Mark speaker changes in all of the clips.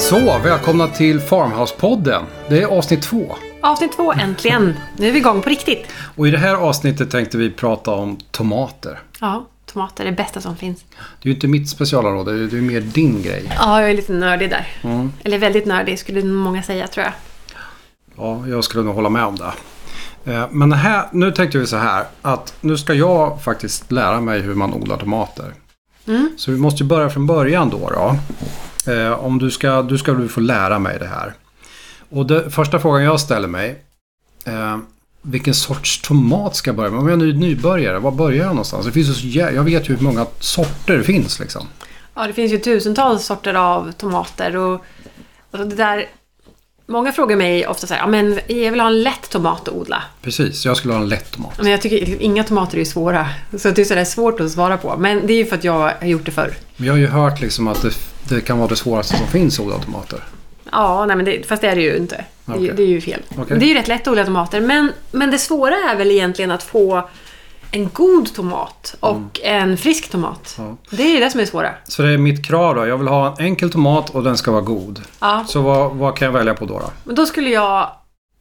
Speaker 1: Så, välkomna till Farmhouse-podden. Det är avsnitt två.
Speaker 2: Avsnitt två, äntligen! Nu är vi igång på riktigt.
Speaker 1: Och i det här avsnittet tänkte vi prata om tomater.
Speaker 2: Ja, tomater är det bästa som finns.
Speaker 1: Det är ju inte mitt specialområde, det är ju mer din grej.
Speaker 2: Ja, jag är lite nördig där. Eller väldigt nördig skulle många säga, tror jag.
Speaker 1: Ja, jag skulle nog hålla med om det. Eh, Men här, nu tänkte vi så här att nu ska jag faktiskt lära mig hur man odlar tomater. Så vi måste ju börja från början då. då. Eh, Om du ska, du ska du få lära mig det här. Och det, första frågan jag ställer mig. Eh, vilken sorts tomat ska jag börja med? Om jag nu är nybörjare, var börjar jag någonstans? Det finns ju så, jä- jag vet ju hur många sorter det finns liksom.
Speaker 2: Ja, det finns ju tusentals sorter av tomater och, och det där... Många frågar mig ofta så här, ja men jag vill ha en lätt tomat att odla.
Speaker 1: Precis, jag skulle ha en lätt tomat.
Speaker 2: Men jag tycker liksom, inga tomater är svåra. Så det är sådär svårt att svara på. Men det är ju för att jag har gjort det förr.
Speaker 1: Men jag har ju hört liksom att det, det kan vara det svåraste som finns att odla tomater.
Speaker 2: Ja, nej, men det, fast det är det ju inte. Det, är ju-
Speaker 1: Okej.
Speaker 2: det är ju fel.
Speaker 1: Okej.
Speaker 2: Det är ju rätt lätt att odla tomater. Men, men det svåra är väl egentligen att få en god tomat och en frisk tomat.
Speaker 1: Mm. Ja.
Speaker 2: Det är ju det som är det svåra.
Speaker 1: Så det är mitt krav då. Jag vill ha en enkel tomat och den ska vara god.
Speaker 2: Ja.
Speaker 1: Så vad, vad kan jag välja på då? då?
Speaker 2: Men då skulle jag,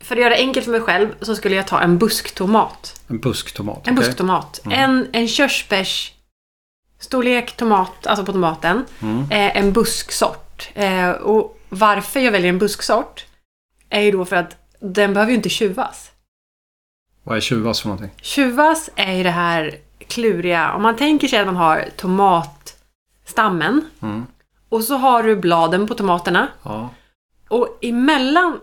Speaker 2: för att göra det enkelt för mig själv, så skulle jag ta en busktomat.
Speaker 1: En busktomat.
Speaker 2: En
Speaker 1: okej? Mm.
Speaker 2: busktomat. En, en körsbärs storlek tomat, alltså på tomaten.
Speaker 1: Mm.
Speaker 2: Eh, en busksort. Eh, och varför jag väljer en busksort är ju då för att den behöver ju inte tjuvas.
Speaker 1: Vad är tjuvas för någonting?
Speaker 2: Tjuvas är ju det här kluriga. Om man tänker sig att man har tomatstammen
Speaker 1: Mm.
Speaker 2: och så har du bladen på tomaterna
Speaker 1: Ja.
Speaker 2: och emellan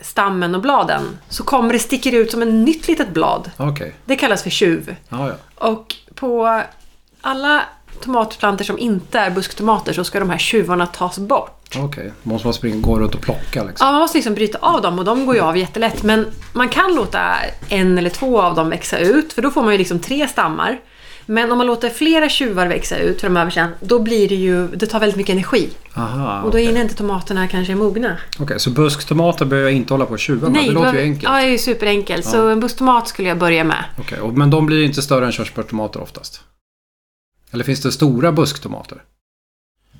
Speaker 2: stammen och bladen så kommer det sticker ut som ett nytt litet blad.
Speaker 1: Okej.
Speaker 2: Det kallas för tjuv.
Speaker 1: Ja, ja.
Speaker 2: Och på alla tomatplanter som inte är busktomater så ska de här tjuvarna tas bort.
Speaker 1: Okej. Måste man springa, gå runt och plocka liksom?
Speaker 2: Ja, man måste liksom bryta av dem och de går ju av jättelätt. Men man kan låta en eller två av dem växa ut för då får man ju liksom tre stammar. Men om man låter flera tjuvar växa ut framöver sen, då blir det ju, det tar väldigt mycket energi.
Speaker 1: Aha.
Speaker 2: Och då
Speaker 1: Okej,
Speaker 2: hinner inte tomaterna kanske är mogna.
Speaker 1: Okej, så busktomater behöver jag inte hålla på och tjuva med? Det låter ju
Speaker 2: behöver-
Speaker 1: enkelt.
Speaker 2: Ja, det är ju superenkelt. Så en busktomat skulle jag börja med.
Speaker 1: Okej, och- men de blir inte större än körsbärstomater oftast? Eller finns det stora busktomater?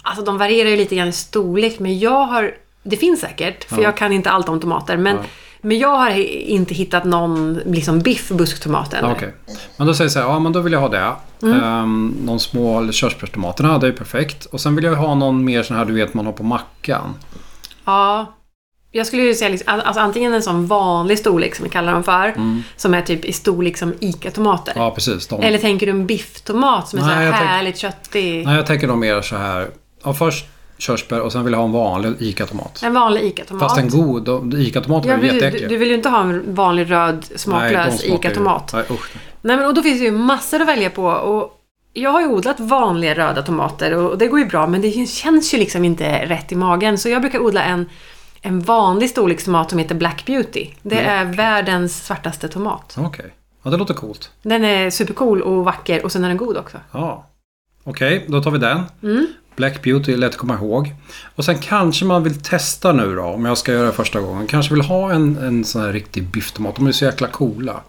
Speaker 2: Alltså de varierar ju lite grann i storlek, men jag har... Det finns säkert, för
Speaker 1: Ja.
Speaker 2: jag kan inte allt om tomater. Men,
Speaker 1: Ja.
Speaker 2: men jag har inte hittat någon liksom biff busktomaten.
Speaker 1: Ja, Okej. Men då säger jag så här, ja men då vill jag ha det.
Speaker 2: Mm.
Speaker 1: Ehm, de små körsbärstomaterna, det är perfekt. Och sen vill jag ha någon mer sån här du vet man har på mackan.
Speaker 2: Ja. Jag skulle ju säga liksom, all- alltså antingen en sån vanlig storlek som vi kallar dem för. Som är typ i storlek som ICA-tomater.
Speaker 1: Mm. Ja precis. De.
Speaker 2: Eller tänker du en bifftomat som är
Speaker 1: Nej,
Speaker 2: så här
Speaker 1: jag tänk-
Speaker 2: härligt köttig?
Speaker 1: Nej jag tänker nog mer så här. Ja, först körsbär och sen vill jag ha en vanlig ICA-tomat.
Speaker 2: En vanlig ICA-tomat.
Speaker 1: Fast en god. de- ICA-tomater
Speaker 2: Ja,
Speaker 1: är ju
Speaker 2: du, du,
Speaker 1: jätteäckliga.
Speaker 2: du vill ju inte ha en vanlig röd
Speaker 1: Nej, de
Speaker 2: smaklös
Speaker 1: smakar ju-
Speaker 2: ICA-tomat.
Speaker 1: Nej usch. nej.
Speaker 2: Nej, men och då finns det ju massor att välja på. Och jag har ju odlat vanliga röda tomater och det går ju bra men det känns ju liksom inte rätt i magen. Så jag brukar odla en, en vanlig storlekstomat som heter Black Beauty. Det är världens svartaste tomat.
Speaker 1: Okej. Ja det låter coolt.
Speaker 2: Den är supercool och vacker och sen är den god också.
Speaker 1: Ja. Okej, då tar vi den.
Speaker 2: Mm.
Speaker 1: Black Beauty är lätt att komma ihåg. Och sen kanske man vill testa nu då, om jag ska göra det första gången. Kanske vill ha en, en sån här riktig bifftomat. De är så jäkla coola. Och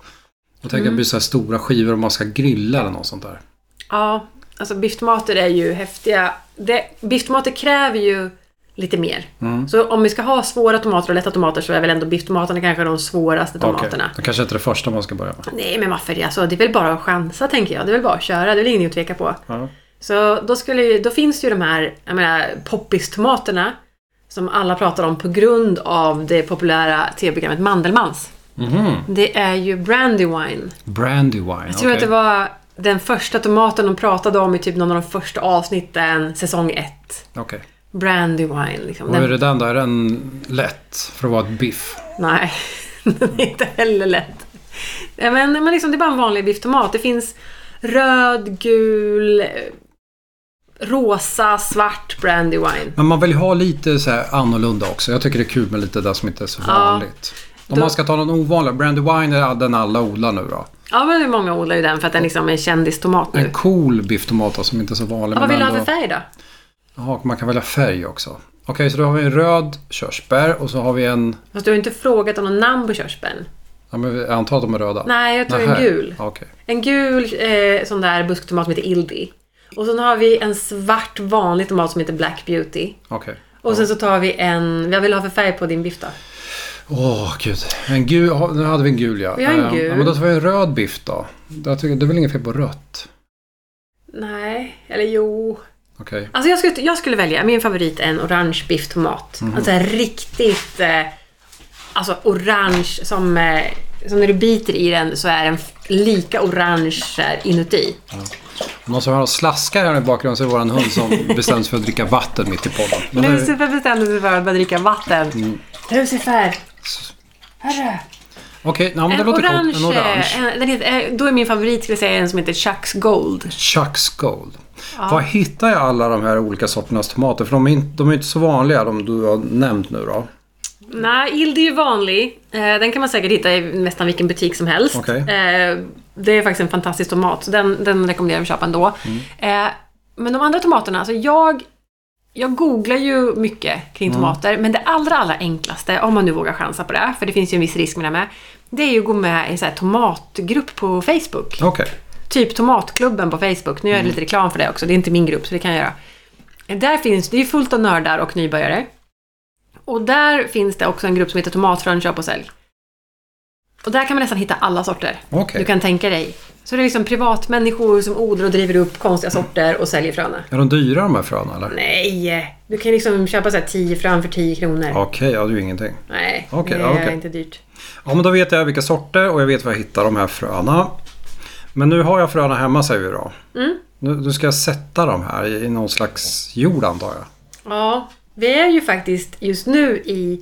Speaker 2: Mm.
Speaker 1: tänker att det blir så här stora skivor om man ska grilla eller något sånt där.
Speaker 2: Ja, alltså bifftomater är ju häftiga. Det, bifftomater kräver ju lite mer.
Speaker 1: Mm.
Speaker 2: Så om vi ska ha svåra tomater och lätta tomater så är väl ändå bifftomaterna kanske de svåraste tomaterna.
Speaker 1: Okej, Det kanske inte är det första man ska börja med.
Speaker 2: Nej men varför det? Alltså, det är väl bara att chansa tänker jag. Det är väl bara att köra. Det är väl ingenting att tveka på.
Speaker 1: Ja.
Speaker 2: Så då, skulle, ju- då finns det ju de här jag menar, poppistomaterna som alla pratar om på grund av det populära tv-programmet Mandelmans.
Speaker 1: Mhm.
Speaker 2: Det är ju Brandywine.
Speaker 1: Brandywine.
Speaker 2: Jag tror att det var den första tomaten de pratade om i typ någon av de första avsnitten, säsong 1.
Speaker 1: Okej.
Speaker 2: Brandywine liksom.
Speaker 1: Och hur
Speaker 2: Den,
Speaker 1: är den då? Är den lätt för att vara ett biff?
Speaker 2: nej, den är inte heller lätt. Nej, Men, men liksom, det är bara en vanlig bifftomat. Det finns röd, gul, eh, rosa, svart Brandywine.
Speaker 1: Men man vill ju ha lite så här annorlunda också. Jag tycker det är kul med lite det som inte är så vanligt. Om
Speaker 2: Då-
Speaker 1: man ska ta någon ovanlig. Brandywine är den alla odlar nu då.
Speaker 2: Ja, men det är många odlar ju den för att den liksom är en kändistomat nu.
Speaker 1: En cool bifftomat då, som inte är så vanlig.
Speaker 2: Ja, vad vill du ha
Speaker 1: ändå-
Speaker 2: för färg då?
Speaker 1: Ja, man kan välja färg också. Okej, så då har vi en röd körsbär och så har vi en...
Speaker 2: Fast du har ju inte frågat om någon namn på körsbären.
Speaker 1: Ja, men jag antar att de är röda.
Speaker 2: Nej, jag tror en
Speaker 1: Nähä.
Speaker 2: gul.
Speaker 1: Ja, Okej.
Speaker 2: En gul eh, sån där busktomat som heter Ildi. Och sen har vi en svart vanlig tomat som heter Black Beauty.
Speaker 1: Okej.
Speaker 2: Och Och sen så tar vi en... Vad vill du ha för färg på din biff då?
Speaker 1: Åh, gud. En gul, ha- nu hade vi en gul ja.
Speaker 2: Vi har en
Speaker 1: Eh,
Speaker 2: gul.
Speaker 1: Ja, men då tar vi en röd biff då. Jag tycker, det är väl inget fel på rött?
Speaker 2: Nej, eller jo.
Speaker 1: Okej.
Speaker 2: Alltså jag skulle, jag skulle välja, min favorit är en orange biff tomat. Alltså en riktigt eh, alltså orange som, eh, som när du biter i den så är den f- lika orange så här inuti.
Speaker 1: Om någon som har slaskar här i bakgrunden så är det våran hund som bestämmer sig för att dricka vatten mitt i podden. Men nu-
Speaker 2: Lucifer bestämde sig för att börja dricka vatten. Lucifer! Hörru!
Speaker 1: Okej, ja, men det
Speaker 2: En
Speaker 1: låter
Speaker 2: orange,
Speaker 1: coolt. En orange.
Speaker 2: eh, den heter, eh, då är min favorit skulle jag säga en som heter Chuck's Gold.
Speaker 1: Chuck's Gold. Var hittar jag alla de här olika sorternas tomater? För de är inte, de är inte så vanliga, de du har nämnt nu då.
Speaker 2: Nej, Ild är ju vanlig. Eh, Den kan man säkert hitta i nästan vilken butik som helst.
Speaker 1: Okej.
Speaker 2: Eh, Det är faktiskt en fantastisk tomat, så den, den rekommenderar jag att köpa ändå.
Speaker 1: Mm.
Speaker 2: Eh, Men de andra tomaterna, alltså jag, jag googlar ju mycket kring
Speaker 1: Mm.
Speaker 2: tomater, men det allra, allra enklaste, om man nu vågar chansa på det, för det finns ju en viss risk med det med, det är ju att gå med i en så här tomatgrupp på Facebook.
Speaker 1: Okej.
Speaker 2: Typ Tomatklubben på Facebook. Nu gör jag
Speaker 1: Mm.
Speaker 2: lite reklam för det också. Det är inte min grupp, så det kan jag göra. Där finns, det är fullt av nördar och nybörjare. Och där finns det också en grupp som heter Tomatfrön köp och sälj. Och där kan man nästan hitta alla sorter
Speaker 1: Okej.
Speaker 2: du kan tänka dig. Så det är liksom privatmänniskor som odlar och driver upp konstiga sorter och säljer fröna.
Speaker 1: Är de dyra de här fröna eller?
Speaker 2: Nej! Du kan liksom köpa så här 10 frön för 10 kronor.
Speaker 1: Okej, ja det är ju ingenting.
Speaker 2: Nej,
Speaker 1: Okej,
Speaker 2: det
Speaker 1: ja,
Speaker 2: är
Speaker 1: okej.
Speaker 2: inte dyrt.
Speaker 1: Ja, men då vet jag vilka sorter och jag vet var jag hittar de här fröna. Men nu har jag fröna hemma säger vi då.
Speaker 2: Mm.
Speaker 1: Nu, nu ska jag sätta dem här i, i någon slags jord antar jag.
Speaker 2: Ja, vi är ju faktiskt just nu i,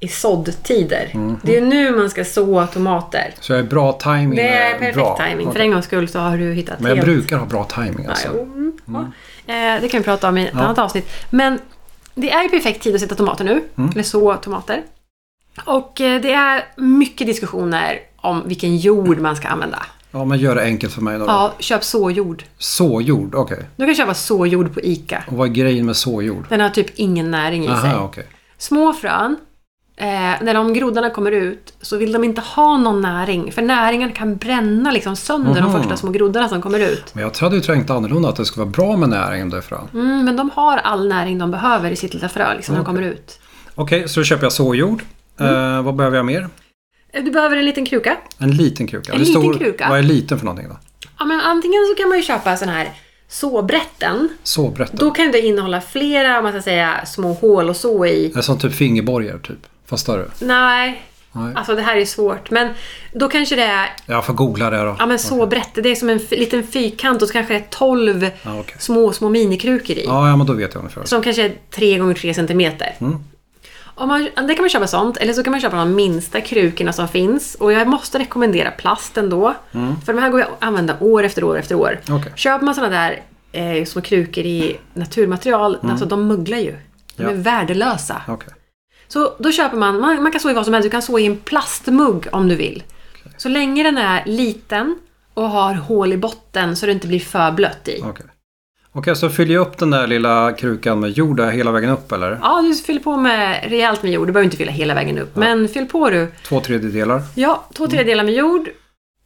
Speaker 2: i såddtider.
Speaker 1: Mm.
Speaker 2: Det är ju nu man ska så tomater.
Speaker 1: Så jag är bra timing.
Speaker 2: Det är
Speaker 1: eh,
Speaker 2: perfekt
Speaker 1: bra.
Speaker 2: timing. För
Speaker 1: Okej.
Speaker 2: en gångs skull så har du hittat
Speaker 1: Men jag
Speaker 2: helt-
Speaker 1: brukar ha bra timing
Speaker 2: Ja,
Speaker 1: alltså.
Speaker 2: jo, mm, ja. Eh, Det kan vi prata om i ett annat avsnitt. Men det är ju perfekt tid att sätta tomater nu.
Speaker 1: Mm.
Speaker 2: Eller så tomater. Och eh, det är mycket diskussioner om vilken jord man ska använda.
Speaker 1: Ja, men gör det enkelt för mig då.
Speaker 2: Ja, köp såjord.
Speaker 1: Såjord, okej.
Speaker 2: Du kan köpa såjord på ICA.
Speaker 1: Och vad är grejen med såjord?
Speaker 2: Den har typ ingen näring i sig.
Speaker 1: Aha, okej.
Speaker 2: Små frön, eh, när de groddarna kommer ut så vill de inte ha någon näring. För näringen kan bränna liksom sönder
Speaker 1: Mhm.
Speaker 2: de första små groddarna som kommer ut.
Speaker 1: Men jag hade ju tänkt annorlunda att det skulle vara bra med näring där fram.
Speaker 2: Mm, men de har all näring de behöver i sitt lilla frö liksom, när de kommer ut.
Speaker 1: Okej, så då köper jag såjord.
Speaker 2: Mm.
Speaker 1: Eh, vad behöver jag mer?
Speaker 2: Eh, Du behöver en liten kruka.
Speaker 1: En liten kruka.
Speaker 2: En
Speaker 1: Hur
Speaker 2: liten kruka.
Speaker 1: Vad är liten för någonting då?
Speaker 2: Ja, men antingen så kan man ju köpa sån här såbrätten.
Speaker 1: Såbrätten.
Speaker 2: Då kan det innehålla flera om man ska säga, små hål och så i.
Speaker 1: Det är som typ fingerborgar typ. Fast större.
Speaker 2: Nej,
Speaker 1: Nej.
Speaker 2: alltså det här är svårt. Men då kanske det är
Speaker 1: Jag får googla det då.
Speaker 2: Ja men så brett. Det är som en f- liten fyrkant och så kanske det är 12
Speaker 1: Ja, okej.
Speaker 2: små, små minikrukor i.
Speaker 1: Ja, ja, men då vet jag ungefär.
Speaker 2: Som kanske är 3 gånger 3 centimeter.
Speaker 1: Mm.
Speaker 2: Om man, det kan man köpa sånt, eller så kan man köpa de minsta krukorna som finns. Och jag måste rekommendera plast ändå. För de här går jag att använda år efter år efter år.
Speaker 1: Mm. Okej.
Speaker 2: Köper man såna där eh, små krukor i naturmaterial, alltså de möglar ju. De
Speaker 1: Mm. Ja.
Speaker 2: är värdelösa.
Speaker 1: Okej.
Speaker 2: Så då köper man, man, man kan så i vad som helst, du kan så i en plastmugg om du vill. Så länge den är liten och har hål i botten så det inte blir för blött i.
Speaker 1: Okej. Okej, så fyller jag upp den där lilla krukan med jord där hela vägen upp eller?
Speaker 2: Ja, du fyller på med rejält med jord. Du behöver inte fylla hela vägen upp, men fyll på du.
Speaker 1: Två tredjedelar.
Speaker 2: Ja, två
Speaker 1: Mm.
Speaker 2: tredjedelar med jord.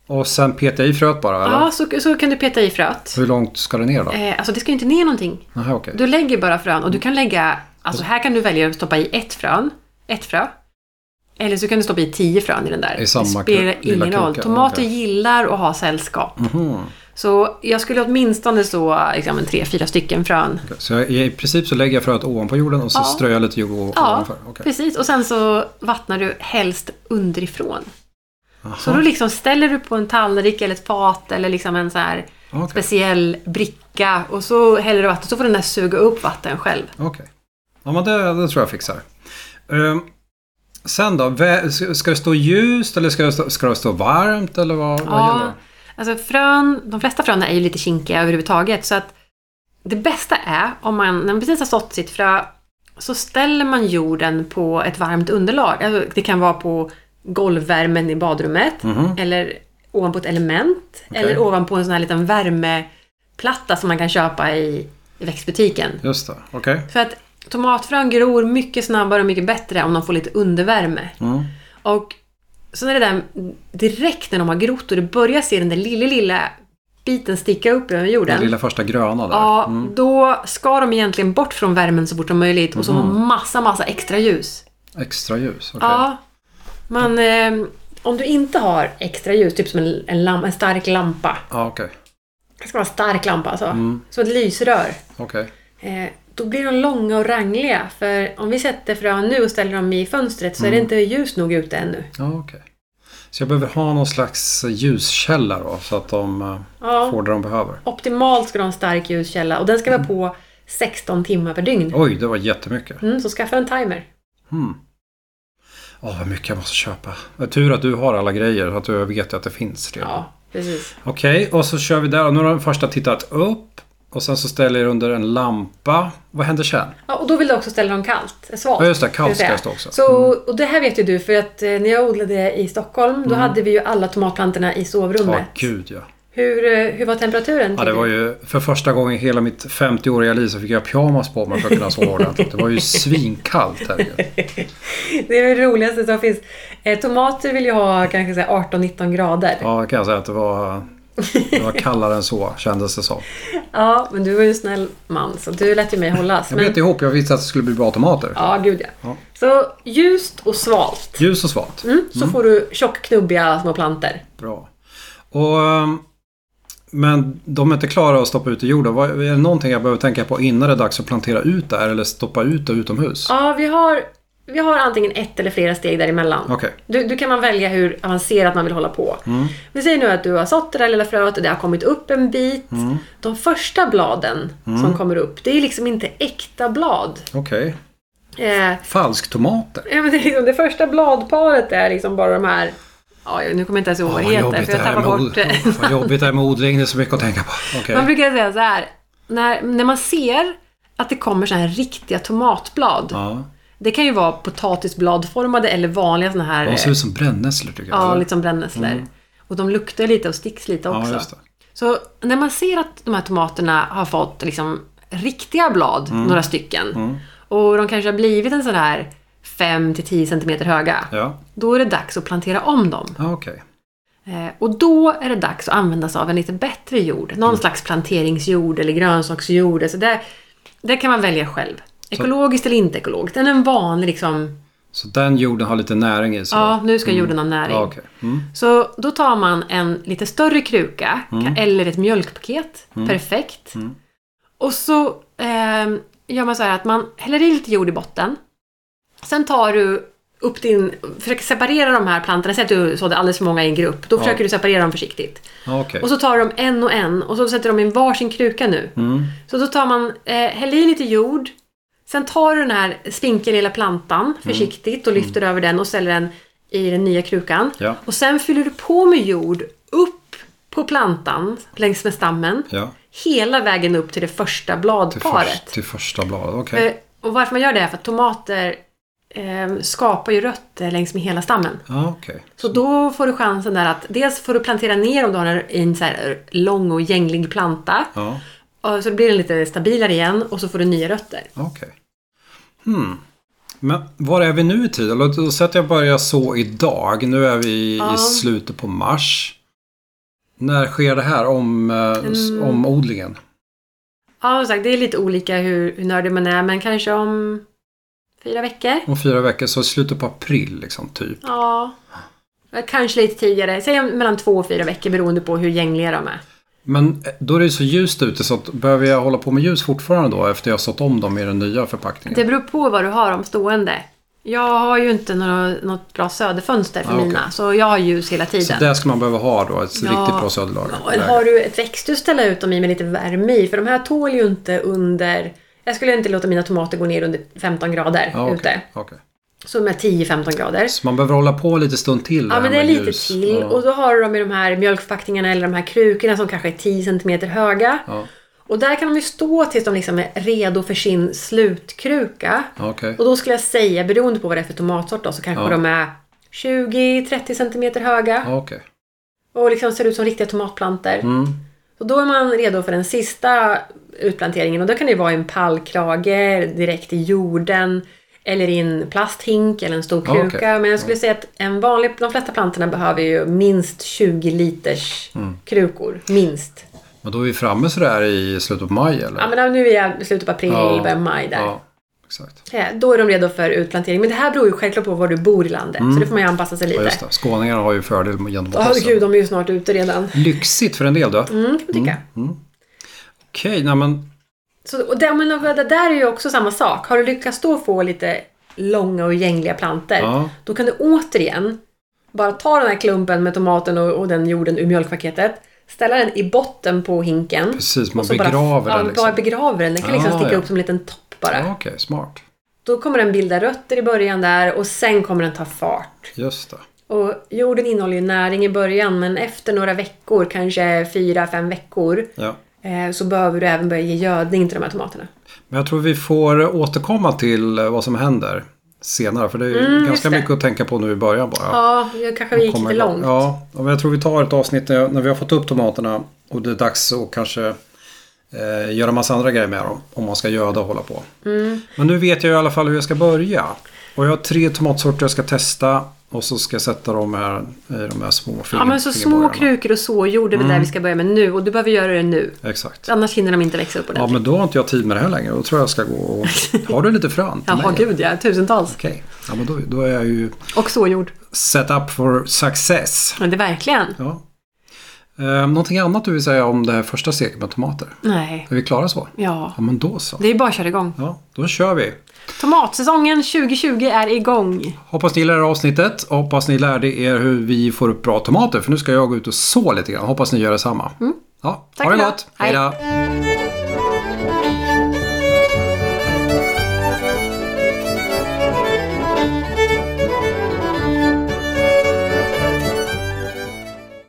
Speaker 1: Och sen petar jag i fröet bara eller?
Speaker 2: Ja, så, så kan du peta i fröet.
Speaker 1: Hur långt ska det ner då?
Speaker 2: Eh, alltså det ska ju inte ner någonting.
Speaker 1: Aha, okej.
Speaker 2: Du lägger bara frön
Speaker 1: Mm.
Speaker 2: och du kan lägga, alltså här kan du välja att stoppa i ett frön, ett frö. Eller så kan du stoppa i tio frön i den där.
Speaker 1: I samma
Speaker 2: det spelar
Speaker 1: kru- lilla
Speaker 2: ingen roll.
Speaker 1: kruka,
Speaker 2: Tomater
Speaker 1: okej.
Speaker 2: gillar att ha sällskap.
Speaker 1: Mhm.
Speaker 2: Så jag skulle åtminstone så liksom, en tre, fyra stycken frön.
Speaker 1: Okej, Så jag, i princip så lägger jag fröet ovanpå jorden och så
Speaker 2: Ja.
Speaker 1: strör jag lite jord o-
Speaker 2: Ja,
Speaker 1: ovanför? Okej.
Speaker 2: precis. Och sen så vattnar du helst underifrån. Så
Speaker 1: Aha,
Speaker 2: då liksom ställer du på en tallrik eller ett fat eller liksom en så här
Speaker 1: Okej.
Speaker 2: speciell bricka och så häller du vatten så får den där suga upp vatten själv.
Speaker 1: Okej. Ja, men det, det tror jag fixar. Ehm, sen då? Vä- ska- Ska det stå ljust eller ska det stå, ska det stå varmt eller vad, vad
Speaker 2: Ja,
Speaker 1: gäller?
Speaker 2: alltså frön, de flesta frön är ju lite kinkiga överhuvudtaget så att det bästa är om man, när man precis har sått sitt frö, så ställer man jorden på ett varmt underlag. Alltså, det kan vara på golvvärmen i badrummet eller ovanpå ett element eller ovanpå en sån här liten värmeplatta som man kan köpa i, i växtbutiken.
Speaker 1: Just det, okej.
Speaker 2: För att tomatfrön gror mycket snabbare och mycket bättre om de får lite undervärme.
Speaker 1: Mm.
Speaker 2: Och sen är det där direkt när de har grott och du börjar se den där lilla, lilla biten sticka upp över jorden.
Speaker 1: Den lilla första gröna där. Mm.
Speaker 2: Ja, då ska de egentligen bort från värmen så fort som möjligt och så
Speaker 1: Mm.
Speaker 2: massa, massa extra ljus.
Speaker 1: Extra ljus. okej.
Speaker 2: Ja. Man, eh, om du inte har extra ljus, typ som en, en, lam- en stark lampa.
Speaker 1: Ja, okej.
Speaker 2: Det ska vara en stark lampa alltså.
Speaker 1: Mm.
Speaker 2: Som ett lysrör.
Speaker 1: Okej.
Speaker 2: Eh, då blir de långa och rangliga. För om vi sätter frön nu och ställer dem i fönstret så
Speaker 1: Mm.
Speaker 2: är det inte ljus nog ute ännu.
Speaker 1: Ja, okej. Så jag behöver ha någon slags ljuskälla då så att de eh,
Speaker 2: Ja.
Speaker 1: får Mm. det de behöver.
Speaker 2: Optimalt ska du ha en stark ljuskälla och den ska vara på 16 timmar per dygn.
Speaker 1: Oj, det var jättemycket.
Speaker 2: Mm, så skaffa en timer.
Speaker 1: Mm. Åh, vad mycket jag måste köpa. Det är Tur att du har alla grejer så att du vet att det finns redan.
Speaker 2: Ja, precis.
Speaker 1: Okej, och så kör vi där. Och nu har den första tittat upp. Och sen så ställer jag under en lampa. Vad händer sen?
Speaker 2: Ja, och då vill du också ställa dem kallt. eh, Svalt.
Speaker 1: Ja, just det.
Speaker 2: ska jag
Speaker 1: Kallt ska
Speaker 2: säga.
Speaker 1: det stå också. Mm.
Speaker 2: Så, och det här vet ju du för att eh, när jag odlade i Stockholm då hade vi ju alla tomatplantorna i
Speaker 1: Ja,
Speaker 2: sovrummet.
Speaker 1: gud ja.
Speaker 2: hur, eh, hur var temperaturen?
Speaker 1: Ja, det var ju för första gången i hela mitt 50-åriga liv så fick jag pyjamas på mig för att kunna sova ordentligt. Det var ju svinkallt. Herregud.
Speaker 2: Det är det roligaste som finns. Eh, tomater vill ju ha kanske så här 18-19 grader. Ja.
Speaker 1: Ja, det kan jag säga att det var, det var kallare än så kändes det som.
Speaker 2: men du var ju en snäll man så du lät ju mig hållas.
Speaker 1: Jag
Speaker 2: men,
Speaker 1: bet ihop. Jag visste att det skulle bli bra tomater.
Speaker 2: Ja, gud ja.
Speaker 1: Ja.
Speaker 2: Så ljust och svalt.
Speaker 1: Ljus och svalt.
Speaker 2: Mm, så får du tjock, knubbiga små planter.
Speaker 1: Bra. Och, ehm, men de är inte klara att stoppa ut i jorden. Vad- Är det någonting jag behöver tänka på innan det är dags att plantera ut det här eller stoppa ut det utomhus?
Speaker 2: Ja, vi har, vi har antingen ett eller flera steg däremellan.
Speaker 1: Okej.
Speaker 2: Du, du kan man välja hur avancerat man vill hålla på.
Speaker 1: Mm.
Speaker 2: Vi säger nu att du har sått det där lilla fröet och det har kommit upp en bit.
Speaker 1: Mm.
Speaker 2: De första bladen som kommer upp, det är liksom inte äkta blad.
Speaker 1: Okej.
Speaker 2: Eh,
Speaker 1: Falsktomater.
Speaker 2: ja, men det, är liksom, det första bladparet är liksom bara de här... Ja, nu kommer jag inte ens ihåg vad det
Speaker 1: Vad
Speaker 2: heter,
Speaker 1: jobbigt
Speaker 2: för
Speaker 1: det
Speaker 2: jag
Speaker 1: här
Speaker 2: tappar
Speaker 1: med
Speaker 2: bort
Speaker 1: od-
Speaker 2: det.
Speaker 1: Åh, vad jobbigt det här med odling. Det är så mycket att tänka på. Okej.
Speaker 2: Man brukar säga så här. När, när man ser att det kommer så här riktiga tomatblad.
Speaker 1: Ja.
Speaker 2: Det kan ju vara potatisbladformade eller vanliga såna här...
Speaker 1: De
Speaker 2: eh,
Speaker 1: ser ut som brännässlor tycker jag.
Speaker 2: Ja,
Speaker 1: eller?
Speaker 2: lite som brännässlor. Och de luktar lite och sticks lite
Speaker 1: Mm. ja
Speaker 2: också.
Speaker 1: just det.
Speaker 2: Så när man ser att de här tomaterna har fått liksom riktiga blad,
Speaker 1: Mm.
Speaker 2: några stycken, och de kanske har blivit en sån här 5-10 cm höga,
Speaker 1: Ja,
Speaker 2: då är det dags att plantera om dem.
Speaker 1: ja okej.
Speaker 2: Eh, och då är det dags att använda sig av en lite bättre jord. Någon slags planteringsjord eller grönsaksjord. Alltså där, där kan man välja själv. Ekologiskt eller inte ekologiskt. Eller en vanlig liksom,
Speaker 1: Så den jorden har lite näring i sig.
Speaker 2: ja nu ska jorden ha
Speaker 1: då?
Speaker 2: näring.
Speaker 1: ja okej. Mm.
Speaker 2: Så då tar man en lite större kruka ka- eller ett mjölkpaket. Perfekt. Och så ehm, gör man så här att man häller i lite jord i botten. Sen tar du upp din, försöker separera de här plantorna. Säg att du sådde alldeles för många i en grupp. Då försöker du separera dem försiktigt.
Speaker 1: Ja, okej.
Speaker 2: Och så tar du dem en och en och så sätter de i en varsin kruka nu.
Speaker 1: Mm.
Speaker 2: Så då tar man, eh, häller i lite jord. Sen tar du den här spinkiga lilla plantan
Speaker 1: Mm.
Speaker 2: försiktigt och lyfter över den och ställer den i den nya krukan.
Speaker 1: Ja.
Speaker 2: Och sen fyller du på med jord upp på plantan längs med stammen.
Speaker 1: Ja,
Speaker 2: Hela vägen upp till det första
Speaker 1: till,
Speaker 2: bladparet.
Speaker 1: först, till första bladet. Okej.
Speaker 2: Eh, och varför man gör det är för att tomater eh, skapar ju rötter längs med hela stammen.
Speaker 1: Ja, okej.
Speaker 2: Så då får du chansen där att dels får du plantera ner om du har en, i en så här lång och gänglig planta.
Speaker 1: Ja,
Speaker 2: Och Så blir den lite stabilare igen och så får du nya rötter.
Speaker 1: okej. Hmm. Men var är vi nu i tid? Eller, Då sätter jag börja så idag. Nu är vi
Speaker 2: Ja.
Speaker 1: i slutet på mars. När sker det här om, mm. om odlingen?
Speaker 2: Ja, som sagt, det är lite olika hur, hur nördig man är, men kanske om fyra veckor.
Speaker 1: Om fyra veckor, så i slutet på april liksom, typ.
Speaker 2: Ja. Kanske lite tidigare. Säg om- mellan två och fyra veckor beroende på hur gängliga de är.
Speaker 1: Men eh, då är det ju så ljust ute så att, behöver jag hålla på med ljus fortfarande då efter jag har sått om dem i den nya förpackningen?
Speaker 2: Det beror på vad du har om stående. Jag har ju inte några, något bra söderfönster för
Speaker 1: Ja, Ah, okej.
Speaker 2: mina, så jag har ljus hela
Speaker 1: Så
Speaker 2: tiden.
Speaker 1: där ska man behöva ha då, ett
Speaker 2: Ja.
Speaker 1: riktigt bra söderlager.
Speaker 2: Ja, eller har du ett växthus ställa ut dem i med lite värme i? För de här tål ju inte under... Jag skulle inte låta mina tomater gå ner under 15 grader
Speaker 1: Ja, okej,
Speaker 2: ute.
Speaker 1: okej.
Speaker 2: Så med 10-15 grader.
Speaker 1: Så man behöver hålla på lite stund till?
Speaker 2: Ja,
Speaker 1: här
Speaker 2: men det är
Speaker 1: med
Speaker 2: lite
Speaker 1: ljus.
Speaker 2: till.
Speaker 1: Ja.
Speaker 2: Och då har du dem i de här mjölkförpackningarna eller de här krukorna som kanske är 10 cm höga.
Speaker 1: Ja,
Speaker 2: Och där kan de ju stå tills de liksom är redo för sin slutkruka.
Speaker 1: okej.
Speaker 2: Och då skulle jag säga, beroende på vad det är för tomatsort då, så kanske
Speaker 1: Ja.
Speaker 2: de är 20-30 cm höga.
Speaker 1: Ja, okej.
Speaker 2: Och liksom ser ut som riktiga tomatplanter.
Speaker 1: Mm.
Speaker 2: Och då är man redo för den sista utplanteringen. Och då kan det ju vara i en pallkrage, direkt i jorden. Eller i en plasthink eller en stor
Speaker 1: Ja, okej.
Speaker 2: kruka. Men jag skulle säga att en
Speaker 1: Mm.
Speaker 2: vanlig, de flesta plantorna behöver ju minst 20 liters krukor. Minst.
Speaker 1: Men då är vi framme sådär i slutet på maj eller?
Speaker 2: Ja, men nu är vi i slutet på april,
Speaker 1: Ja.
Speaker 2: början av maj där.
Speaker 1: Ja, exakt.
Speaker 2: Eh, Då är de redo för utplantering. Men det här beror ju självklart på var du bor i landet. Så det får man ju anpassa sig
Speaker 1: Mm. Ja,
Speaker 2: lite.
Speaker 1: just det. Skåningarna har ju fördel gentemot
Speaker 2: Åh
Speaker 1: oss.
Speaker 2: gud, de är ju snart ute redan.
Speaker 1: Lyxigt för en del då.
Speaker 2: Mm, kan man tycka.
Speaker 1: Okej, nej men
Speaker 2: Så, och det, men det där är ju också samma sak. Har du lyckats då få lite långa och gängliga planter,
Speaker 1: Ja.
Speaker 2: då kan du återigen bara ta den här klumpen med tomaten och, och den jorden ur mjölkpaketet, ställa den i botten på hinken.
Speaker 1: precis, man
Speaker 2: och så
Speaker 1: begraver
Speaker 2: bara,
Speaker 1: den
Speaker 2: ja,
Speaker 1: liksom.
Speaker 2: bara begraver den. Den kan liksom
Speaker 1: Ah,
Speaker 2: sticka
Speaker 1: ja.
Speaker 2: upp som en liten topp bara.
Speaker 1: Ja, Okej, smart.
Speaker 2: Då kommer den bilda rötter i början där och sen kommer den ta fart.
Speaker 1: Just det.
Speaker 2: Och jorden innehåller ju näring i början men efter några veckor, kanske fyra, fem veckor,
Speaker 1: Ja.
Speaker 2: eh, så behöver du även börja ge gödning till de här tomaterna.
Speaker 1: Men jag tror vi får återkomma till eh, vad som händer senare. För det är ju ganska
Speaker 2: Mm, just det.
Speaker 1: mycket att tänka på nu i början bara.
Speaker 2: Ja, jag kanske vi gick
Speaker 1: Kommer
Speaker 2: lite
Speaker 1: igång.
Speaker 2: långt.
Speaker 1: Ja, ja, men jag tror vi tar ett avsnitt när när vi har fått upp tomaterna och det är dags att kanske eh, göra massa andra grejer med dem. Om man ska göda och hålla på.
Speaker 2: Mm.
Speaker 1: Men nu vet jag i alla fall hur jag ska börja. Och jag har tre tomatsorter jag ska testa och så ska jag sätta dem här i de här små
Speaker 2: Ja, men så små
Speaker 1: fingerborgarna.
Speaker 2: krukor och såjord är väl
Speaker 1: Mm.
Speaker 2: där vi ska börja med nu och du behöver göra det nu.
Speaker 1: Exakt.
Speaker 2: Annars hinner de inte växa upp
Speaker 1: Ja,
Speaker 2: ordentligt.
Speaker 1: men då har inte jag tid med det här längre. Då tror jag jag ska gå och... Har du lite frön till
Speaker 2: Jaha,
Speaker 1: mig?
Speaker 2: gud ja. Tusentals.
Speaker 1: Okej. Ja, men då, då är jag ju
Speaker 2: Och såjord.
Speaker 1: set up for success.
Speaker 2: Men det är verkligen.
Speaker 1: Ja. Eh, någonting annat du vill säga om det här första steget med tomater?
Speaker 2: Nej.
Speaker 1: Är vi klara så?
Speaker 2: Ja.
Speaker 1: Ja, men då så.
Speaker 2: Det är bara att köra igång.
Speaker 1: Ja, då kör vi.
Speaker 2: Tomatsäsongen 2020 är igång.
Speaker 1: Hoppas ni gillar det här avsnittet. och Hoppas ni lärde er hur vi får upp bra tomater. För nu ska jag gå ut och så lite grann. Hoppas ni gör detsamma. Ja,
Speaker 2: Mm. Tack
Speaker 1: ha
Speaker 2: och
Speaker 1: det
Speaker 2: hej.
Speaker 1: gott. Hej då.
Speaker 2: Hej.